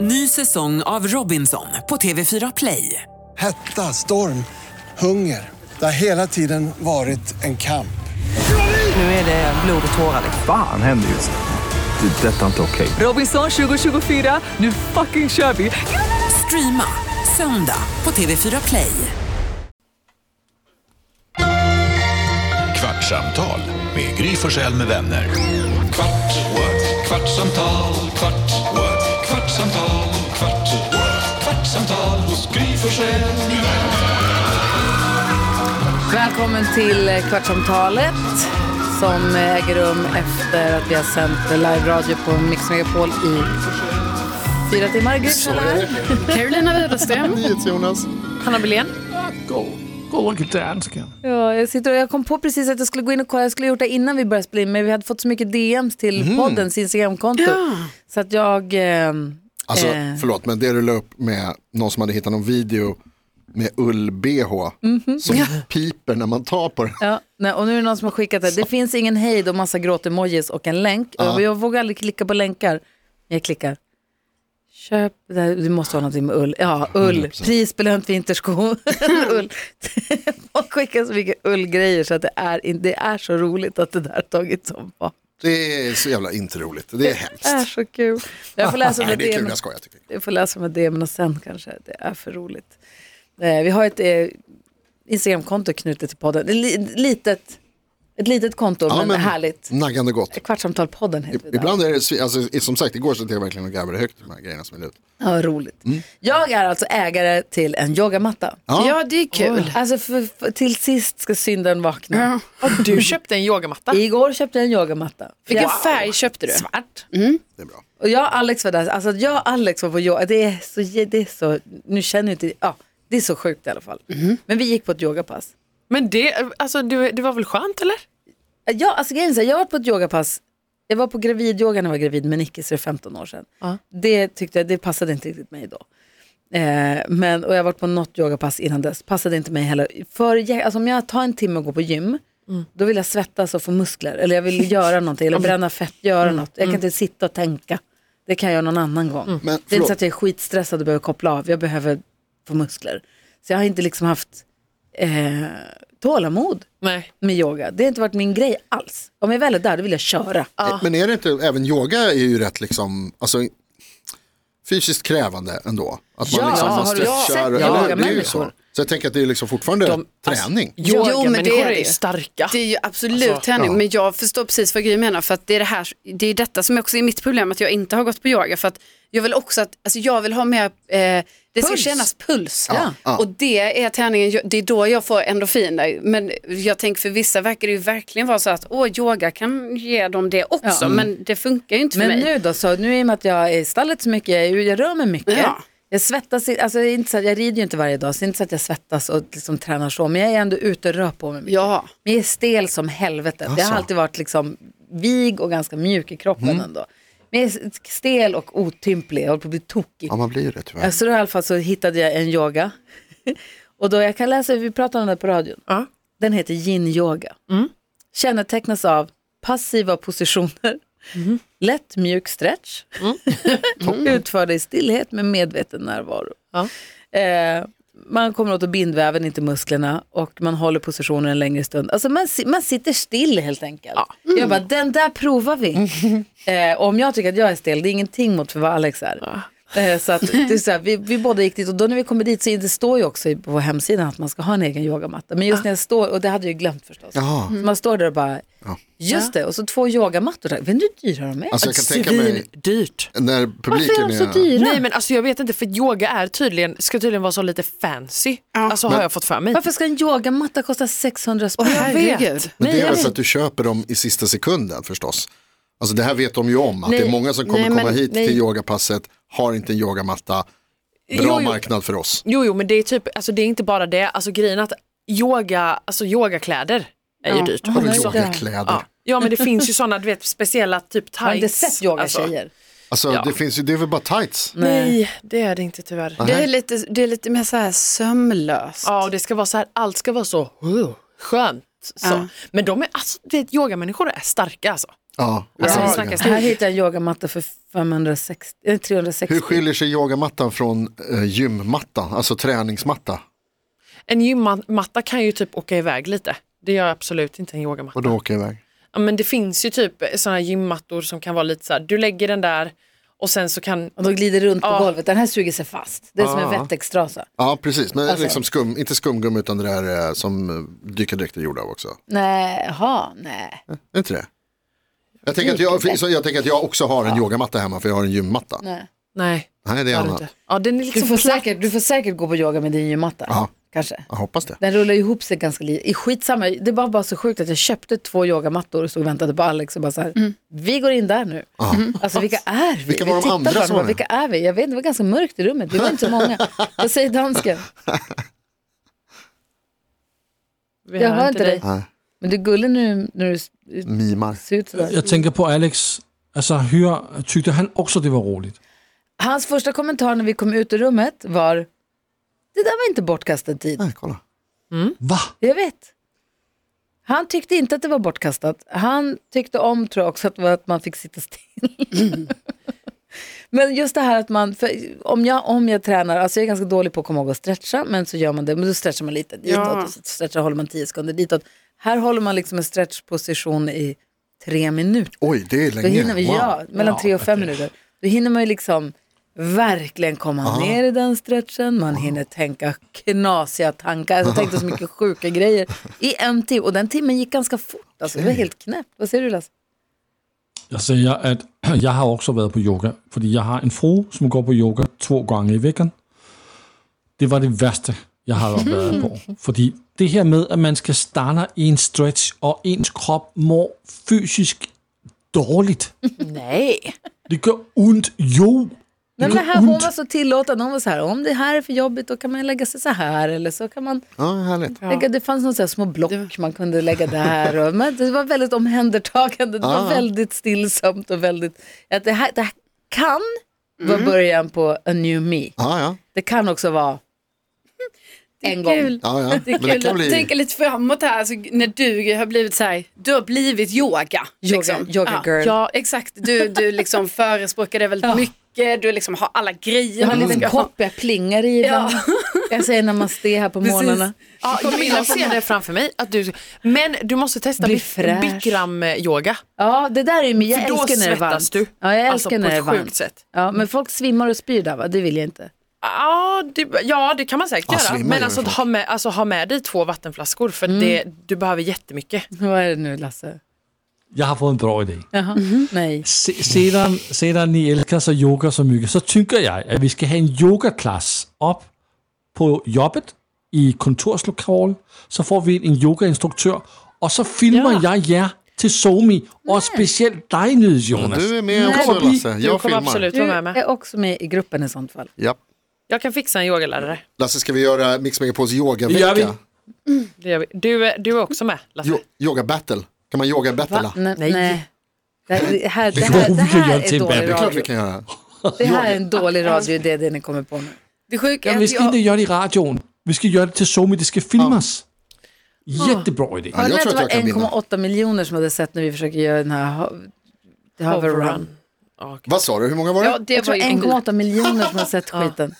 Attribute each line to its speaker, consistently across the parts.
Speaker 1: Ny säsong av Robinson på TV4 Play.
Speaker 2: Hetta, storm, hunger. Det har hela tiden varit en kamp.
Speaker 1: Nu är det blod och tårar.
Speaker 3: Fan händer just nu. Det. är Detta är inte okej.
Speaker 1: Robinson 2024, nu fucking kör vi! Streama söndag på TV4 Play.
Speaker 4: Kvartsamtal med Gry Forssell med vänner. Kvart, what? kvartsamtal, kvart, what? kvartsamtal, kvart, what? kvartsamtal hos Gry Forssell med vänner.
Speaker 5: Välkommen till eh, Kvartsamtalet som eh, äger rum efter att vi har sänt eh, live-radio på Mix Megapol i fyra timmar. Gud,
Speaker 6: Carolina Widerström.
Speaker 7: Jonas.
Speaker 6: Hanna Billén.
Speaker 5: Ja, jag, sitter och, jag kom på precis att jag skulle gå in och kolla, jag skulle ha gjort det innan vi började spela in, men vi hade fått så mycket DMs till
Speaker 7: Mhm.
Speaker 5: poddens Instagramkonto. Så att jag... Eh,
Speaker 7: Alltså,
Speaker 5: eh,
Speaker 7: förlåt, men det du la upp med någon som hade hittat någon video med ull-bh
Speaker 5: Mhm.
Speaker 7: som piper när man tar på den.
Speaker 5: Ja, nej, och nu är det någon som har skickat det. Det finns ingen hejd och massa gråtemojis och en länk. Och jag vågar aldrig klicka på länkar. Jag klickar. Köp, det här- du måste ha någonting med ull. Ja, ull. Prisbelönt vintersko. ull. Folk skickar så mycket ullgrejer så att det är, in- det är så roligt att det där har tagits som fan.
Speaker 7: Det är så jävla inte roligt, det är hemskt.
Speaker 5: Det är så kul. Jag får läsa
Speaker 7: Nej,
Speaker 5: med
Speaker 7: det
Speaker 5: Eh, alltså, det.
Speaker 7: är kul,
Speaker 5: men-
Speaker 7: jag skojar. Tycker. jag.
Speaker 5: jag får läsa med DM:na sen kanske. Det är för roligt. Eh, vi har ett eh, Instagramkonto knutet till podden. Ett li- litet, ett litet konto, men,
Speaker 7: men-
Speaker 5: härligt.
Speaker 7: Naggande gott.
Speaker 5: Kvartsamtalpodden heter det. där.
Speaker 7: Ibland är det, svi- alltså, som sagt, igår satt jag verkligen och grabbade högt de här grejerna som är ut.
Speaker 5: Ja, roligt. Jag är alltså ägare till en yogamatta.
Speaker 7: Mm. Ja.
Speaker 6: Ja, det är kul.
Speaker 5: Alltså för, för, till sist ska synden vakna.
Speaker 6: Och du köpte en yogamatta.
Speaker 5: Igår köpte jag en yogamatta.
Speaker 6: Vilken
Speaker 5: Wow.
Speaker 6: färg köpte du?
Speaker 5: Svart.
Speaker 8: Mm.
Speaker 7: Det är bra.
Speaker 5: Och jag och Alex var där. Alltså jag och Alex var på yoga. Det är så, det är så nu känner jag inte, ja, det är så sjukt i alla fall.
Speaker 6: Mm.
Speaker 5: Men vi gick på ett yogapass.
Speaker 6: Men det, alltså, du, det var väl skönt eller?
Speaker 5: Ja, alltså grejen är så här, jag har varit på ett yogapass. Jag var på gravidyoga när jag var gravid med Nicky, så det är 15 år sedan. Det tyckte jag, det passade inte riktigt mig då. Eh, men, och jag har varit på något yogapass innan dess, passade inte mig heller. För, jag- alltså, om jag tar en timme och går på gym, då vill jag svettas och få muskler. Eller jag vill göra någonting, eller bränna fett, göra något. Jag kan inte sitta och tänka. Det kan jag göra någon annan gång.
Speaker 7: Men
Speaker 5: Det är inte
Speaker 7: förlåt.
Speaker 5: så att jag är skitstressad och behöver koppla av, jag behöver få muskler. Så jag har inte liksom haft eh, tålamod
Speaker 6: Nej.
Speaker 5: med yoga. Det har inte varit min grej alls. Om jag väl är där, då vill jag köra.
Speaker 7: Eh, Men är det inte, även yoga är ju rätt liksom, alltså, fysiskt krävande ändå. Att man
Speaker 5: Ja,
Speaker 7: liksom man
Speaker 5: har du
Speaker 7: stretchar,
Speaker 5: sett
Speaker 7: eller hur? det är ju
Speaker 5: yogamänniskor? alltså,
Speaker 7: så. Så jag tänker att det är liksom fortfarande träning.
Speaker 6: Yoga,
Speaker 8: Jo, men det är
Speaker 6: är
Speaker 8: det
Speaker 6: ju
Speaker 8: ju.
Speaker 6: starka. Alltså,
Speaker 8: Det är ju absolut träning, men jag förstår precis vad Gry menar för att det är det här, det är detta som också är mitt problem att jag inte har gått på yoga för att jag vill också att, alltså jag vill ha mer, eh, det ska
Speaker 5: Puls.
Speaker 8: kännas puls
Speaker 5: Ja.
Speaker 7: Ja.
Speaker 8: och det är träningen, jag- det är då jag får endorfiner men jag tänker för vissa verkar det ju verkligen vara så att åh yoga kan ge dem det också
Speaker 6: Mm.
Speaker 5: Ja.
Speaker 8: men det funkar ju inte för
Speaker 5: Men
Speaker 8: mig.
Speaker 5: nu då, så nu i och med att jag är i stallet så mycket, jag, är ju- jag rör mig mycket.
Speaker 8: Ja.
Speaker 5: Jag svettas, i- alltså jag, är inte så, att- jag rider ju inte varje dag, så det är inte så att jag svettas och liksom tränar så, men jag är ändå ute och rör på mig mycket.
Speaker 8: Ja,
Speaker 5: Men jag är stel som helvetet. Jag har alltid varit liksom vig och ganska mjuk i kroppen
Speaker 8: Mm.
Speaker 5: ändå. Men jag är stel och otymplig, jag håller på att bli tokig.
Speaker 7: Ja, man blir ju det tyvärr.
Speaker 5: Ja, Så Alltså, då i alla fall så hittade jag en yoga. och då jag kan läsa, vi pratade om det på radion.
Speaker 6: Ja.
Speaker 5: Den heter yin-yoga. Kännetecknas av passiva positioner, lätt mjuk stretch,
Speaker 7: Mm.
Speaker 5: utförda i stillhet med medveten närvaro.
Speaker 6: Ja.
Speaker 5: Eh, man kommer åt att bindväven, inte musklerna, och man håller positionen en längre stund. Alltså man, si- man sitter still helt enkelt. Mm. Jag bara, den där provar vi. Eh, och om jag tycker att jag är stel, det är ingenting mot för vad Alex är. Eh, så att, det är så här, vi, vi båda gick dit och då när vi kommer dit så det står ju också i- på hemsidan att man ska ha en egen yogamatta. Men just när jag står, och det hade jag ju glömt förstås.
Speaker 7: Jaha.
Speaker 5: Så man står där och bara, just det, och så två yogamattor. där. Vet du hur dyra de är?
Speaker 7: Alltså jag kan tänka mig
Speaker 6: dyrt.
Speaker 7: när
Speaker 5: Varför är
Speaker 7: publiken
Speaker 5: de så dyra?
Speaker 6: Nej men alltså jag vet inte för yoga är tydligen, ska tydligen vara så lite fancy. Alltså har jag fått för mig.
Speaker 5: Varför ska en yogamatta kosta 600 spänn?
Speaker 6: jag vet.
Speaker 8: herregud.
Speaker 7: Men
Speaker 5: Nej,
Speaker 7: det är
Speaker 5: jag
Speaker 7: väl för
Speaker 5: vet.
Speaker 7: att du köper dem i sista sekunden förstås. Alltså det här vet de ju om, att det
Speaker 5: Nej,
Speaker 7: är många som kommer
Speaker 5: nej, men-
Speaker 7: komma hit
Speaker 5: nej.
Speaker 7: till yogapasset, har inte en yogamatta, bra
Speaker 6: Jo, jo.
Speaker 7: marknad för oss.
Speaker 6: Jo, jo men det är typ, alltså det är inte bara det, alltså grejen är att yoga, alltså yogakläder är ju dyrt
Speaker 7: Har du
Speaker 6: också.
Speaker 7: yogakläder?
Speaker 6: Ja. ja men det finns ju sådana, du vet speciella typ tights.
Speaker 5: Har inte sett yogatjejer?
Speaker 7: Alltså
Speaker 6: Ja. Mm.
Speaker 7: det finns ju, det är väl bara tights?
Speaker 6: Nej, det är det inte tyvärr.
Speaker 8: Det är lite, det är lite mer så här sömlöst.
Speaker 6: Ja, och det ska vara så här, allt ska vara så uh, skönt. Så. Men de är, alltså, du vet, yogamänniskor är starka alltså.
Speaker 7: Ja.
Speaker 8: Alltså, vi
Speaker 7: Ja.
Speaker 8: snackar
Speaker 5: Här
Speaker 8: stor.
Speaker 5: hittade jag en yogamatta för 560, eh, 360.
Speaker 7: Hur skiljer sig yogamattan från eh, gymmattan, alltså träningsmatta?
Speaker 6: En gymmatta kan ju typ åka iväg lite. Det gör absolut inte en yogamatta.
Speaker 7: Och då åker jag iväg.
Speaker 6: Ja, men det finns ju typ sådana gymmattor som kan vara lite så här, du lägger den där och sen så kan,
Speaker 5: Och de glider runt på
Speaker 6: Ja.
Speaker 5: golvet. Den här suger sig fast. Det är som en
Speaker 7: Ja.
Speaker 5: vettextrasa.
Speaker 7: Ja, precis. Men
Speaker 5: Alltså-
Speaker 7: liksom skum, inte skumgummi utan det där eh, som eh, dykardräkt är gjorda av också.
Speaker 5: Nej, jaha, nej.
Speaker 7: Är det inte det? Jag tänker, att jag, så jag tänker att jag också har en yogamatta hemma för jag har en gymmatta. Nej,
Speaker 5: nej.
Speaker 6: nej.
Speaker 7: det är
Speaker 6: gör du
Speaker 7: annat.
Speaker 6: inte. Ja, den är
Speaker 5: Du,
Speaker 6: liksom
Speaker 5: får
Speaker 6: platt.
Speaker 5: säkert, du får säkert gå på yoga med din gymmatta.
Speaker 7: Ja.
Speaker 5: Kanske.
Speaker 7: Jag hoppas det.
Speaker 5: Den rullar ju ihop sig ganska lite. Skitsamma, det var bara så sjukt att jag köpte två yogamattor och stod och väntade på Alex och bara så här, vi går in där nu. Alltså vilka är vi?
Speaker 7: Vilka var
Speaker 5: vi
Speaker 7: de
Speaker 5: tittar
Speaker 7: andra
Speaker 5: på dem
Speaker 7: som
Speaker 5: och
Speaker 7: var med?
Speaker 5: Vilka är vi? Jag vet, det var ganska mörkt i rummet, vi var inte så många. Vad säger dansken?
Speaker 6: Vi
Speaker 5: Jag hör inte dig.
Speaker 7: Nej.
Speaker 5: Men du är gullig nu när du s-
Speaker 7: Mimar.
Speaker 5: ser ut sådär.
Speaker 9: Jag tänker på Alex. Alltså, hur tyckte han också det var roligt?
Speaker 5: Hans första kommentar när vi kom ut ur rummet var, det där var inte bortkastad tid.
Speaker 7: Nej, kolla.
Speaker 9: Va?
Speaker 5: Jag vet. Han tyckte inte att det var bortkastat. Han tyckte om, tror jag också, att, det var att man fick sitta still. men just det här att man, för om jag, om jag tränar, alltså jag är ganska dålig på att komma ihåg att stretcha, men så gör man det, men då stretchar man lite ditåt,
Speaker 8: Ja.
Speaker 5: och så stretchar, håller man tio sekunder ditåt. Här håller man liksom en stretchposition i tre minuter.
Speaker 7: Oj, det är
Speaker 5: Då
Speaker 7: länge.
Speaker 5: hinner vi,
Speaker 7: Wow.
Speaker 5: ja, mellan tre och fem minuter. Då hinner man ju liksom verkligen komma ner i den stretchen. Man hinner tänka knasiga tankar. Alltså, jag tänkte så mycket sjuka grejer i en timme. Och den timmen gick ganska fort. Alltså, det var helt knäppt. Vad säger du Lasse?
Speaker 9: Jag säger att jag har också varit på yoga, för jag har en fru som går på yoga två gånger i veckan. Det var det värsta jag har varit på. För det här med att man ska stanna i en stretch och ens kropp mår fysiskt dåligt.
Speaker 5: Nej.
Speaker 9: Det gör ont. Jo! Det
Speaker 5: Nej men det
Speaker 9: gör
Speaker 5: här, hon
Speaker 9: ont.
Speaker 5: var så tillåtande. Hon var så här, om det här är för jobbigt då kan man lägga sig så här. Eller så kan man
Speaker 7: Ja, härligt.
Speaker 5: lägga, det fanns några så här små block man kunde lägga där. Och, men det var väldigt omhändertagande. Det var
Speaker 7: Ja.
Speaker 5: väldigt stillsamt och väldigt, att det, här, det här kan vara början på a new me.
Speaker 7: Ja, ja.
Speaker 5: Det kan också vara en gång.
Speaker 8: Kul.
Speaker 7: ja, ja.
Speaker 8: Det är
Speaker 7: Men det
Speaker 8: kul
Speaker 7: kan
Speaker 8: att
Speaker 7: bli...
Speaker 8: tänka lite framåt här, alltså, när du har blivit så här, du har blivit yoga.
Speaker 5: Yoga-
Speaker 8: liksom.
Speaker 5: yoga girl.
Speaker 8: Ja, exakt. Du, du liksom förespråkar det väldigt
Speaker 5: Ja.
Speaker 8: mycket, du liksom har alla grejer.
Speaker 5: Jag har en
Speaker 8: man
Speaker 5: liten
Speaker 8: Mm. ska ha.
Speaker 5: kopp, jag plingar i den.
Speaker 8: Ja.
Speaker 5: Jag säger namaste här på morgnarna.
Speaker 6: Ja, Camilla ser det framför mig. Att du, men du måste testa
Speaker 5: Bli
Speaker 6: Bik-
Speaker 5: fräsch.
Speaker 6: Bikram-yoga.
Speaker 5: Ja, det där är ju Jag
Speaker 6: För då
Speaker 5: älskar när det är
Speaker 6: svettas
Speaker 5: varmt.
Speaker 6: du.
Speaker 5: Ja, jag älskar
Speaker 6: Alltså, på
Speaker 5: när det är
Speaker 6: ett sjukt
Speaker 5: varmt.
Speaker 6: sätt.
Speaker 5: Ja, men folk svimmar och spyr där va? Det vill jag inte.
Speaker 6: Ja det, ja, det kan man säkert
Speaker 7: Ja,
Speaker 6: göra.
Speaker 7: svimmar
Speaker 6: Men
Speaker 7: gör
Speaker 6: alltså,
Speaker 7: det.
Speaker 6: ha med, alltså ha med dig två vattenflaskor för det,
Speaker 8: Mm.
Speaker 6: du behöver jättemycket.
Speaker 5: Vad är det nu Lasse?
Speaker 9: Jag har fått en bra idé.
Speaker 5: Jaha. Nej.
Speaker 9: Se- Sedan, sedan ni älskar så yoga så mycket så tycker jag att vi ska ha en yogaklass upp på jobbet i kontorslokalen. Så får vi en yogainstruktör och så filmar jag er till Zomi och speciellt dig nu Jonas.
Speaker 7: Du är med
Speaker 9: Nej.
Speaker 7: också Lasse.
Speaker 6: Du
Speaker 7: Jag
Speaker 6: kommer
Speaker 7: filmar.
Speaker 6: absolut
Speaker 5: Du
Speaker 6: vara med
Speaker 8: Mm.
Speaker 6: mig.
Speaker 5: är också med i gruppen i sånt fall.
Speaker 7: Ja.
Speaker 6: Jag kan fixa en yogalärare.
Speaker 7: Lasse, ska vi göra Mix Megapols
Speaker 9: Det gör vi.
Speaker 7: yogavecka?
Speaker 6: Det gör vi. Du, är- du är också med Lasse.
Speaker 7: Jo, yoga battle. Kan man yoga battla?
Speaker 5: Nej.
Speaker 6: Nej.
Speaker 5: Nej. Det här, det här, det
Speaker 9: Jo,
Speaker 5: här, det
Speaker 9: vi kan
Speaker 5: här
Speaker 9: göra
Speaker 5: är
Speaker 9: till
Speaker 5: dålig
Speaker 9: bebis.
Speaker 7: Det är klart vi
Speaker 5: radio.
Speaker 7: kan göra.
Speaker 5: Det här är en dålig radio, det är det ni kommer på nu.
Speaker 8: Det sjuka
Speaker 9: Men
Speaker 8: är
Speaker 9: vi
Speaker 8: att
Speaker 9: ska inte
Speaker 8: jag,
Speaker 9: göra det i radion. Vi ska göra det till Zomi, det ska filmas. Jättebra idé.
Speaker 7: Ja,
Speaker 5: Hörde
Speaker 7: jag
Speaker 5: ni att
Speaker 7: tror att jag
Speaker 5: det
Speaker 7: kan
Speaker 5: var
Speaker 7: vinna.
Speaker 5: 1,8 miljoner som hade sett när vi försöker göra den här ho- hover run.
Speaker 7: Vad sa du, hur många var
Speaker 8: ja,
Speaker 7: det?
Speaker 8: det
Speaker 5: Jag
Speaker 8: var
Speaker 5: tror
Speaker 8: ju en god...
Speaker 5: 1,8 miljoner som har sett skiten.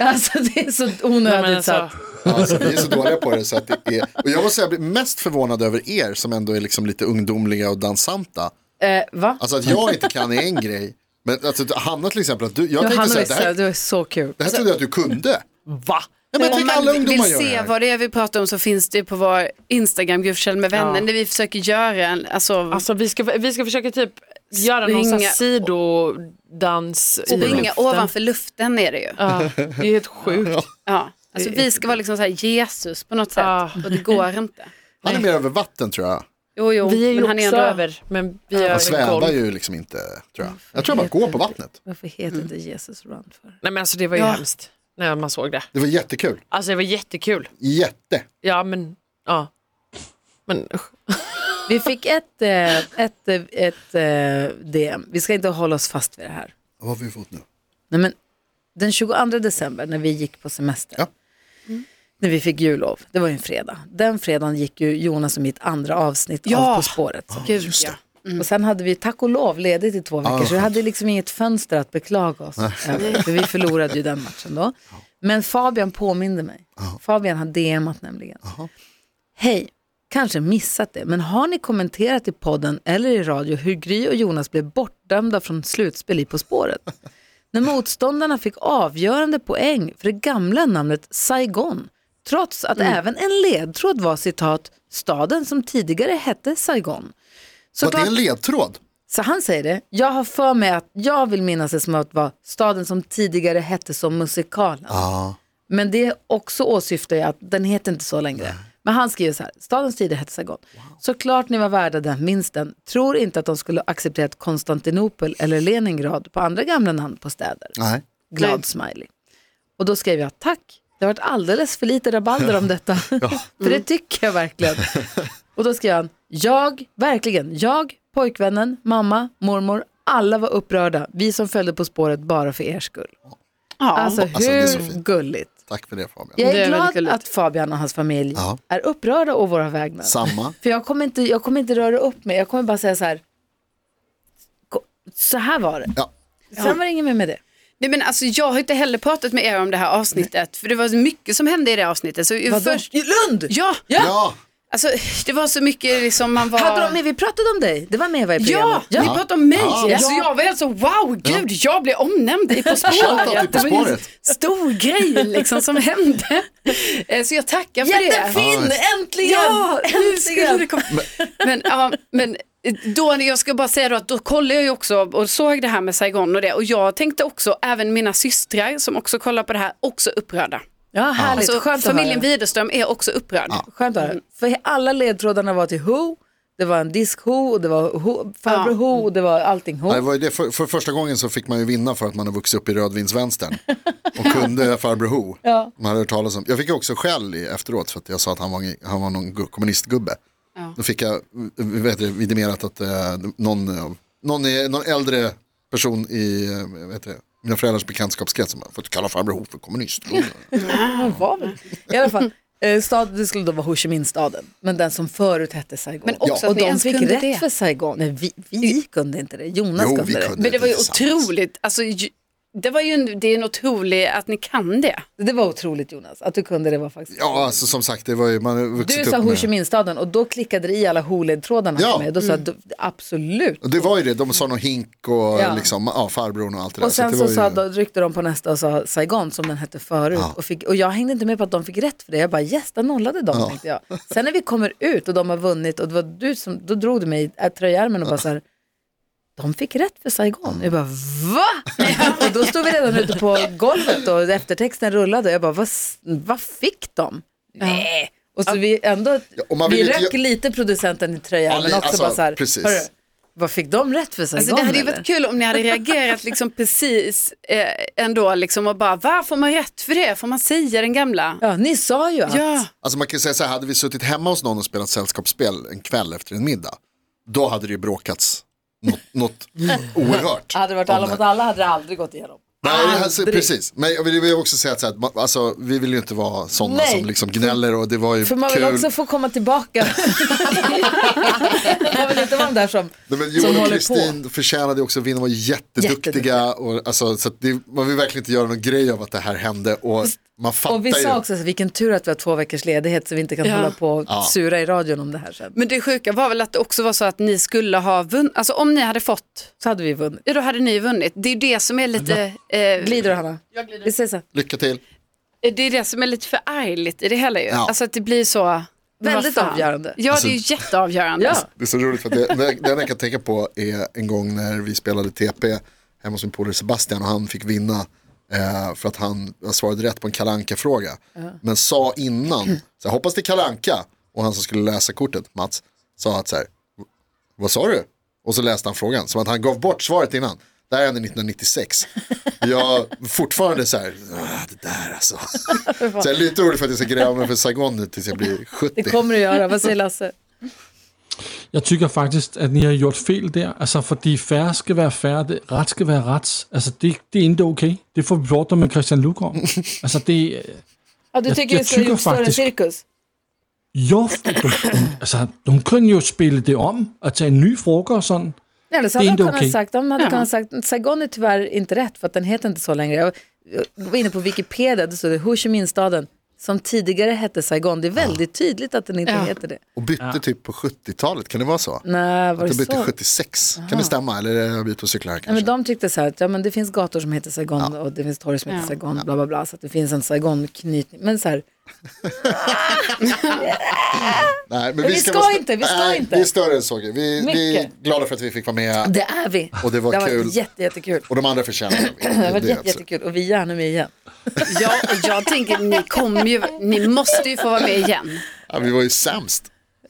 Speaker 5: Alltså det är så
Speaker 6: Nej, men
Speaker 5: onödigt
Speaker 6: alltså,
Speaker 5: så. att-
Speaker 7: Alltså, vi är så dåliga på det så att det är... Och jag måste säga, jag blir mest förvånad över er som ändå är liksom lite ungdomliga och dansanta.
Speaker 5: Eh, va?
Speaker 7: Alltså att jag inte kan är en grej. Men alltså, Hanna till exempel, att du, jag tänkte
Speaker 5: Johanna
Speaker 7: säga, det
Speaker 5: Wexell,
Speaker 7: här,
Speaker 5: du är så kul.
Speaker 7: det här trodde jag att du kunde.
Speaker 6: va?
Speaker 7: Nej, men jag
Speaker 8: Om
Speaker 7: tänker alla
Speaker 8: man
Speaker 7: ungdomar
Speaker 8: vill
Speaker 7: gör det
Speaker 8: se
Speaker 7: här.
Speaker 8: vad det är vi pratar om så finns det på vår Instagram, Gudfjäll med vänner,
Speaker 6: Ja.
Speaker 8: där vi försöker göra en, alltså,
Speaker 6: Alltså vi ska, vi ska försöka typ göra någon sån här
Speaker 8: Springa-
Speaker 6: sidodans i
Speaker 8: springa
Speaker 6: luften.
Speaker 8: ovanför luften är det ju.
Speaker 6: Ja, det är helt sjukt.
Speaker 8: Ja. Alltså vi ska vara liksom så här Jesus på något sätt
Speaker 6: Ja.
Speaker 8: och det går inte.
Speaker 7: Han är mer över vatten tror jag.
Speaker 8: Jo, jo,
Speaker 6: Vi är ju
Speaker 8: men han
Speaker 6: också
Speaker 8: är ändå över.
Speaker 6: över, men vi är
Speaker 7: Han
Speaker 6: över
Speaker 7: svävar
Speaker 6: golv.
Speaker 7: ju liksom inte, tror jag. Jag tror jag bara går på vattnet.
Speaker 5: Varför heter det Jesus Run för?
Speaker 6: Nej men alltså det var ju hemskt när man såg det.
Speaker 7: Det var jättekul.
Speaker 6: Alltså det var jättekul.
Speaker 7: Jätte.
Speaker 6: Ja men, ja. Men usch.
Speaker 5: Vi fick ett, eh, ett, eh, ett eh, DM. Vi ska inte hålla oss fast vid det här.
Speaker 7: Vad har vi fått nu?
Speaker 5: Nej, men den 22 december när vi gick på semester,
Speaker 7: Ja.
Speaker 5: Mm. när vi fick jullov, det var ju en fredag. Den fredagen gick ju Jonas och mitt andra avsnitt
Speaker 8: Ja.
Speaker 5: av På spåret.
Speaker 8: Gud, ja.
Speaker 5: Och sen hade vi tack och lov ledigt i två veckor
Speaker 7: det var
Speaker 5: så vi
Speaker 7: skönt.
Speaker 5: hade liksom inget fönster att beklaga oss över, för vi förlorade ju den matchen då. Men Fabian påminde mig. Fabian har DMat nämligen. Hej, kanske missat det, men har ni kommenterat i podden eller i radio hur Gry och Jonas blev bortdömda från slutspel i På spåret? När motståndarna fick avgörande poäng för det gamla namnet Saigon, trots att
Speaker 7: Mm.
Speaker 5: även en ledtråd var citat staden som tidigare hette Saigon.
Speaker 7: Var det
Speaker 5: Såklart-
Speaker 7: en ledtråd?
Speaker 5: så han säger det. Jag har för mig att jag vill minnas det som att det var staden som tidigare hette som musikalen. Men det också åsyftar jag att den heter inte så längre. Men han skriver så här, stadens tidigare hette Saigon. Såklart ni var värda den minsten. Tror inte att de skulle accepterat Konstantinopel eller Leningrad på andra gamla namn på städer.
Speaker 7: Nej.
Speaker 5: Glad smiley. Och då skrev jag tack. Det har varit alldeles för lite rabalder om detta. för det tycker jag verkligen. Och då skrev han, jag, verkligen, jag, pojkvännen, mamma, mormor, alla var upprörda. Vi som följde På spåret bara för er skull.
Speaker 8: Ja.
Speaker 5: Alltså
Speaker 7: Alltså, det är så
Speaker 5: hur
Speaker 7: fint.
Speaker 5: gulligt.
Speaker 7: Tack för det Fabian.
Speaker 5: Jag är,
Speaker 8: Det är väldigt
Speaker 5: glad
Speaker 8: gulligt.
Speaker 5: att Fabian och hans familj
Speaker 7: Ja.
Speaker 5: är upprörda å våra vägnar.
Speaker 7: Samma.
Speaker 5: För jag kommer, inte, jag kommer inte röra upp mig, jag kommer bara säga så här, "Ko- så här var det.
Speaker 7: Ja.
Speaker 5: Sen var det inget mer med det.
Speaker 8: Nej, men alltså, jag har inte heller pratat med er om det här avsnittet, för det var så mycket som hände i det här avsnittet. Så ju
Speaker 5: Vadå?
Speaker 8: först,
Speaker 5: Lund!
Speaker 8: ja,
Speaker 7: Ja,
Speaker 8: alltså, det var så mycket liksom man var...
Speaker 5: Hade de med, vi pratade om dig, det var med va, i
Speaker 8: Ja,
Speaker 5: programmet?
Speaker 8: ni pratade om mig.
Speaker 7: Ja.
Speaker 8: Alltså, jag var helt så, wow, gud, jag blev omnämnd i På spåret.
Speaker 7: På
Speaker 8: Det var en
Speaker 7: spåret.
Speaker 8: stor grej liksom, som hände. Eh, Så jag tackar för det.
Speaker 5: Jättefin!
Speaker 7: Ja.
Speaker 5: Äntligen!
Speaker 8: Ja, nu skulle det
Speaker 5: äntligen!
Speaker 8: komma. Men, ja, men eh, då, jag ska bara säga då att då kollade jag ju också och såg det här med Saigon och det och jag tänkte också, även mina systrar som också kollar på det här, också upprörda.
Speaker 5: Ja, härligt.
Speaker 8: Alltså,
Speaker 5: Skönt att
Speaker 8: familjen Mm.
Speaker 5: höra.
Speaker 8: Widerström är också upprörd.
Speaker 5: Skönt att höra. För alla ledtrådarna var till Who, det var en disk-Who, och det var Who- farbror
Speaker 8: Ja.
Speaker 5: Who och det var allting
Speaker 7: det
Speaker 5: Who.
Speaker 7: var ju det. För, för första gången så fick man ju vinna för att man har vuxit upp i rödvinsvänstern och kunde farbror Ho. Man hade hört talas om. Jag fick ju också skäll i- efteråt för att jag sa att han var, han var någon gu- kommunistgubbe. Då fick jag eh, v- vet du, vidimerat att eh, någon, av- någon, är- någon äldre person i eh, vet du, mina föräldrars bekantskapskrets som bara, får inte kalla farbror Ho för kommunist.
Speaker 5: Ja, var väl. I alla fall, eh, stad, det skulle då vara Ho Chi Minh-staden, men den som förut hette Saigon.
Speaker 8: Men också
Speaker 5: och
Speaker 8: att ni
Speaker 5: de
Speaker 8: ens
Speaker 5: fick
Speaker 8: kunde
Speaker 5: rätt
Speaker 8: det.
Speaker 5: för Saigon. Nej, vi, vi kunde inte det, Jonas
Speaker 7: Jo, vi
Speaker 5: kunde det.
Speaker 7: kunde
Speaker 8: Men det var ju
Speaker 7: tillsammans.
Speaker 8: otroligt, alltså, ju- det var ju en, det är en otrolig att ni kan det.
Speaker 5: Det var otroligt Jonas, att du kunde det var faktiskt.
Speaker 7: Ja, alltså, som sagt, det var ju, man har
Speaker 5: Du
Speaker 7: vuxit
Speaker 5: sa
Speaker 7: upp
Speaker 5: Ho Chi
Speaker 7: med.
Speaker 5: Minh-staden och då klickade det i alla Ho-ledtrådarna
Speaker 7: Ja. Mm.
Speaker 5: för mig. Då sa jag "Du- absolut.
Speaker 7: Och Det var ju det, de sa någon hink och
Speaker 5: Ja.
Speaker 7: liksom, ja, farbrorn och allt det där.
Speaker 5: Och sen
Speaker 7: det
Speaker 5: så,
Speaker 7: var
Speaker 5: sa,
Speaker 7: ju...
Speaker 5: då ryckte de på nästa och sa Saigon som den hette förut. Och, fick, och jag hängde inte med på att de fick rätt för det. Jag bara yes, där nollade de tänkte jag. Sen när vi kommer ut och de har vunnit och det var du som, då drog du mig i äh, tröjärmen och bara så här, de fick rätt för Saigon. Jag bara va? och då stod vi redan ute på golvet och eftertexten rullade. Jag bara vad, s- vad fick de? Nej. Och så vi ändå,
Speaker 7: och man
Speaker 5: vi
Speaker 7: vill inte-
Speaker 5: rök lite producenten i
Speaker 7: Ja,
Speaker 5: tröjärmen
Speaker 7: men
Speaker 5: också
Speaker 7: alltså,
Speaker 5: bara så här,
Speaker 7: precis.
Speaker 5: "Hörru, vad fick de rätt för Saigon?
Speaker 8: Alltså, det hade ju
Speaker 5: eller?"
Speaker 8: varit kul om ni hade reagerat liksom precis eh, ändå liksom och bara, varför får man rätt för det? Får man säga den gamla?
Speaker 5: Ja, ni sa ju att
Speaker 8: Ja.
Speaker 7: Alltså man kan ju säga så här, hade vi suttit hemma hos någon och spelat sällskapsspel en kväll efter en middag, då hade det ju bråkats något, något oerhört.
Speaker 5: Hade det varit
Speaker 7: om
Speaker 5: alla
Speaker 7: det.
Speaker 5: mot alla hade det aldrig gått igenom.
Speaker 7: Nej, alltså,
Speaker 5: Aldrig.
Speaker 7: precis. Men jag vill ju också säga att så här, att man- alltså, vi vill ju inte vara sådana
Speaker 5: Nej.
Speaker 7: som liksom gnäller och det var ju
Speaker 5: För man vill
Speaker 7: kul.
Speaker 5: också få komma tillbaka. man vill inte vara den där som,
Speaker 7: Nej, men
Speaker 5: som
Speaker 7: Joel och
Speaker 5: håller
Speaker 7: Kristin förtjänade ju också att vinna, de var jätteduktiga.
Speaker 5: Jätteduktiga.
Speaker 7: Och, alltså, så att det, man vill verkligen inte göra någon grej av att det här hände. Och man
Speaker 5: på.
Speaker 7: fattar
Speaker 5: Och vi
Speaker 7: ju.
Speaker 5: sa också så, vilken tur att vi har två veckors ledighet så vi inte kan hålla på och sura i radion om det här sen.
Speaker 8: Men det sjuka var väl att det också var så att ni skulle ha vunnit, alltså om ni hade fått,
Speaker 5: Så hade vi vunnit.
Speaker 8: ja då hade ni vunnit. Det är det som är lite, eh,
Speaker 5: Glider du Hanna? Jag glider. Vi ses sen.
Speaker 7: Lycka till.
Speaker 8: det är det som är lite förargligt i det hela ju.
Speaker 7: Ja.
Speaker 8: Alltså att det blir så. men
Speaker 5: Väldigt
Speaker 8: vad fan.
Speaker 5: avgörande.
Speaker 8: Ja, det är
Speaker 5: Alltså-
Speaker 8: ju jätteavgörande.
Speaker 5: Ja.
Speaker 7: Det är så roligt för att det, det enda jag kan tänka på är en gång när vi spelade TP hemma hos min polare Sebastian och han fick vinna eh, för att han svarade rätt på en kalanka fråga Men sa innan, så jag hoppas det är kalanka och han som skulle läsa kortet, Mats, sa att så här, vad sa du? Och så läste han frågan, som att han gav bort svaret innan. Det här hände 1996. Jag fortfarande så här, "Ah, det där alltså. Så jag är lite orolig för att jag ska gräva mig för Saigon nu tills jag blir 70.
Speaker 5: Det kommer du göra, vad säger Lasse?
Speaker 9: Jeg tykker faktisk, at ni har gjort fel der. Altså, fordi færre skal være færre, det, ret skal være ret. Altså, det, det er ikke okay. Det får vi gjort der med Christian Lugård. altså, det, øh,
Speaker 5: Ja, du
Speaker 9: Jag-
Speaker 5: tycker vi
Speaker 9: jag
Speaker 5: ska ha
Speaker 9: tycker
Speaker 5: gjort större
Speaker 9: faktiskt-
Speaker 5: cirkus?
Speaker 9: Jo, du, altså, hun kunne jo spille det om og tage en ny frokost sådan.
Speaker 5: Eller så
Speaker 9: Det är
Speaker 5: Alltså, hade de
Speaker 9: inte
Speaker 5: kunnat
Speaker 9: okej.
Speaker 5: sagt, de hade
Speaker 8: Ja.
Speaker 5: kunnat sagt, Saigon är tyvärr inte rätt för att den heter inte så längre. Jag var inne på Wikipedia, det stod det Ho Chi Minh-staden som tidigare hette Saigon. Det är väldigt tydligt att den inte
Speaker 8: Ja.
Speaker 5: heter det.
Speaker 7: Och bytte typ på 70-talet, kan det vara så?
Speaker 5: Nej, var
Speaker 7: Att
Speaker 5: det
Speaker 7: det bytte
Speaker 5: så?
Speaker 7: 76, kan det stämma? Eller är jag ute och cyklar här
Speaker 5: Nej,
Speaker 7: kanske?
Speaker 5: men de tyckte så här att ja, men det finns gator som heter Saigon och det finns torg som heter
Speaker 8: Ja.
Speaker 5: Saigon, bla bla bla, så att det finns en Saigon-knytning. Men så här,
Speaker 7: Nej,
Speaker 5: Men vi
Speaker 7: ska
Speaker 5: ska
Speaker 7: vara-
Speaker 5: inte, vi ska
Speaker 7: Nej,
Speaker 5: inte.
Speaker 7: Vi är större än så. Vi, vi är
Speaker 5: Mycket.
Speaker 7: glada för att vi fick vara med
Speaker 5: det är vi.
Speaker 7: och det var
Speaker 5: har
Speaker 7: Ah, kul.
Speaker 5: varit jätte, jättekul.
Speaker 7: Och de andra förtjänar det.
Speaker 5: Det har varit
Speaker 7: Det är
Speaker 5: jätte,
Speaker 7: absolut.
Speaker 5: jättekul och vi är gärna med igen.
Speaker 8: Ja, och Alltså, jag tänker ni kommer ju, ni måste ju få vara med igen.
Speaker 7: Ja, vi var ju sämst.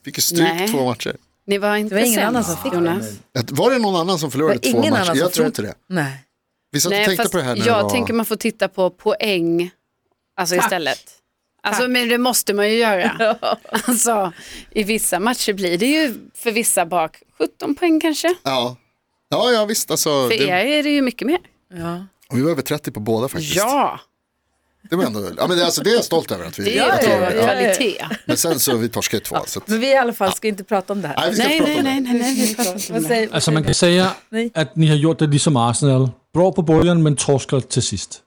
Speaker 7: Fick ju stryk
Speaker 8: Nej.
Speaker 7: två matcher.
Speaker 8: Ni var inte
Speaker 5: Det var ingen
Speaker 8: sämst,
Speaker 5: annan som fick
Speaker 8: Jonas.
Speaker 7: Att- Var det någon annan som förlorade
Speaker 5: Det var ingen
Speaker 7: två matcher?
Speaker 5: annan som
Speaker 7: Jag tror
Speaker 5: förlorade.
Speaker 7: inte det.
Speaker 5: Nej.
Speaker 7: Vi satt och
Speaker 8: Nej,
Speaker 7: tänkte
Speaker 8: fast
Speaker 7: på det här när
Speaker 8: jag
Speaker 7: det var...
Speaker 8: tänker man får titta på poäng alltså istället. Alltså, men det måste man ju göra. alltså, I vissa matcher blir det ju för vissa bak 17 poäng kanske.
Speaker 7: Ja. Ja, ja visst. Alltså,
Speaker 8: För er
Speaker 7: det,
Speaker 8: är det ju mycket mer.
Speaker 7: och vi var över 30 på båda faktiskt.
Speaker 8: Ja,
Speaker 7: Det, var ändå, ja, men det, alltså, det är jag stolt över att vi
Speaker 8: det är
Speaker 7: att
Speaker 8: ju
Speaker 7: vi-
Speaker 5: ja, ja.
Speaker 8: kvalitet.
Speaker 7: Men sen så vi torskade ju två. Så att,
Speaker 5: Men vi i alla fall ska inte prata om det här.
Speaker 7: nej, vi ska
Speaker 8: Nej,
Speaker 7: inte prata
Speaker 8: nej,
Speaker 7: om det.
Speaker 8: nej, nej, nej, vi pratar inte om
Speaker 5: Vad
Speaker 8: det.
Speaker 5: säger,
Speaker 9: Altså man kan sige,
Speaker 5: Nej.
Speaker 9: at ni har gjort det ligesom Arsenal. Bra på bølgen, men torsker til sidst.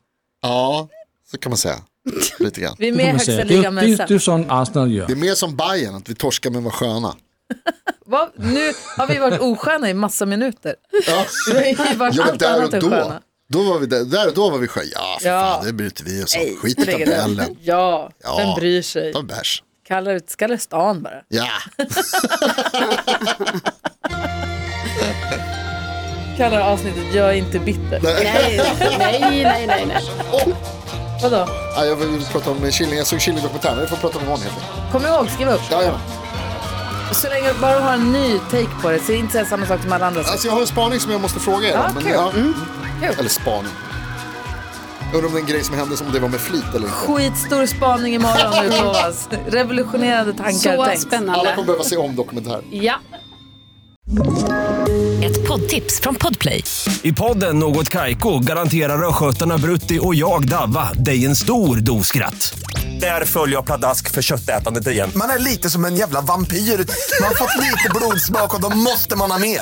Speaker 7: Ja, så kan man säga. Lite grann.
Speaker 5: vi är
Speaker 9: Det
Speaker 5: med i
Speaker 9: kan man sige.
Speaker 5: högsta
Speaker 9: Det, er jo-
Speaker 5: ligan men
Speaker 9: det, det er
Speaker 5: sen.
Speaker 9: jo sådan, Arsenal gør.
Speaker 7: Det är mer som Bayern att vi torskar men var sköna.
Speaker 5: Vad? Nu har vi varit osköna i massa minuter.
Speaker 7: Ja.
Speaker 5: Vi har ju varit
Speaker 7: Ja, men
Speaker 5: allt
Speaker 7: där
Speaker 5: annat än
Speaker 7: och då.
Speaker 5: sköna.
Speaker 7: Då var vi där, där och då var vi sköna. Ja, för
Speaker 5: Ja.
Speaker 7: fan, det bryr inte vi oss om. Skit i
Speaker 5: Lägger det.
Speaker 7: tabellen.
Speaker 5: Ja,
Speaker 7: Ja.
Speaker 5: vem bryr sig?
Speaker 7: Ta en bärs.
Speaker 5: Kallar det, kallar det stan bara.
Speaker 7: Ja,
Speaker 5: Kallar avsnittet Jag är inte bitter.
Speaker 8: Nej, nej, nej, nej, nej.
Speaker 5: Vadå?
Speaker 7: ja jag vill prata om Killing. Jag såg Killing-dokumentären. Vi får prata om imorgon helt enkelt.
Speaker 5: Kom ihåg, skriv upp.
Speaker 7: Ja, ja.
Speaker 5: Så länge du bara har en ny take på det, så inte säga samma sak som alla andra.
Speaker 7: Alltså jag har en spaning som jag måste fråga er om.
Speaker 5: Ja, kul.
Speaker 7: mm.
Speaker 5: Kul.
Speaker 7: Eller spaning. Jag undrar om det är en grej som hände, som det var med flit eller inte.
Speaker 5: Skitstor spaning imorgon utlovas. Revolutionerande tankar
Speaker 8: Så
Speaker 5: tänks.
Speaker 7: Alla
Speaker 8: spännande.
Speaker 7: kommer behöva se om dokumentären.
Speaker 8: Ja.
Speaker 10: Ett poddtips från Podplay.
Speaker 11: I podden Något Kaiko garanterar östgötarna Brutti och jag, Davva, dig en stor dos skratt. Där följer jag pladask för köttätandet igen.
Speaker 2: Man är lite som en jävla vampyr. Man har fått lite blodsmak och då måste man ha mer.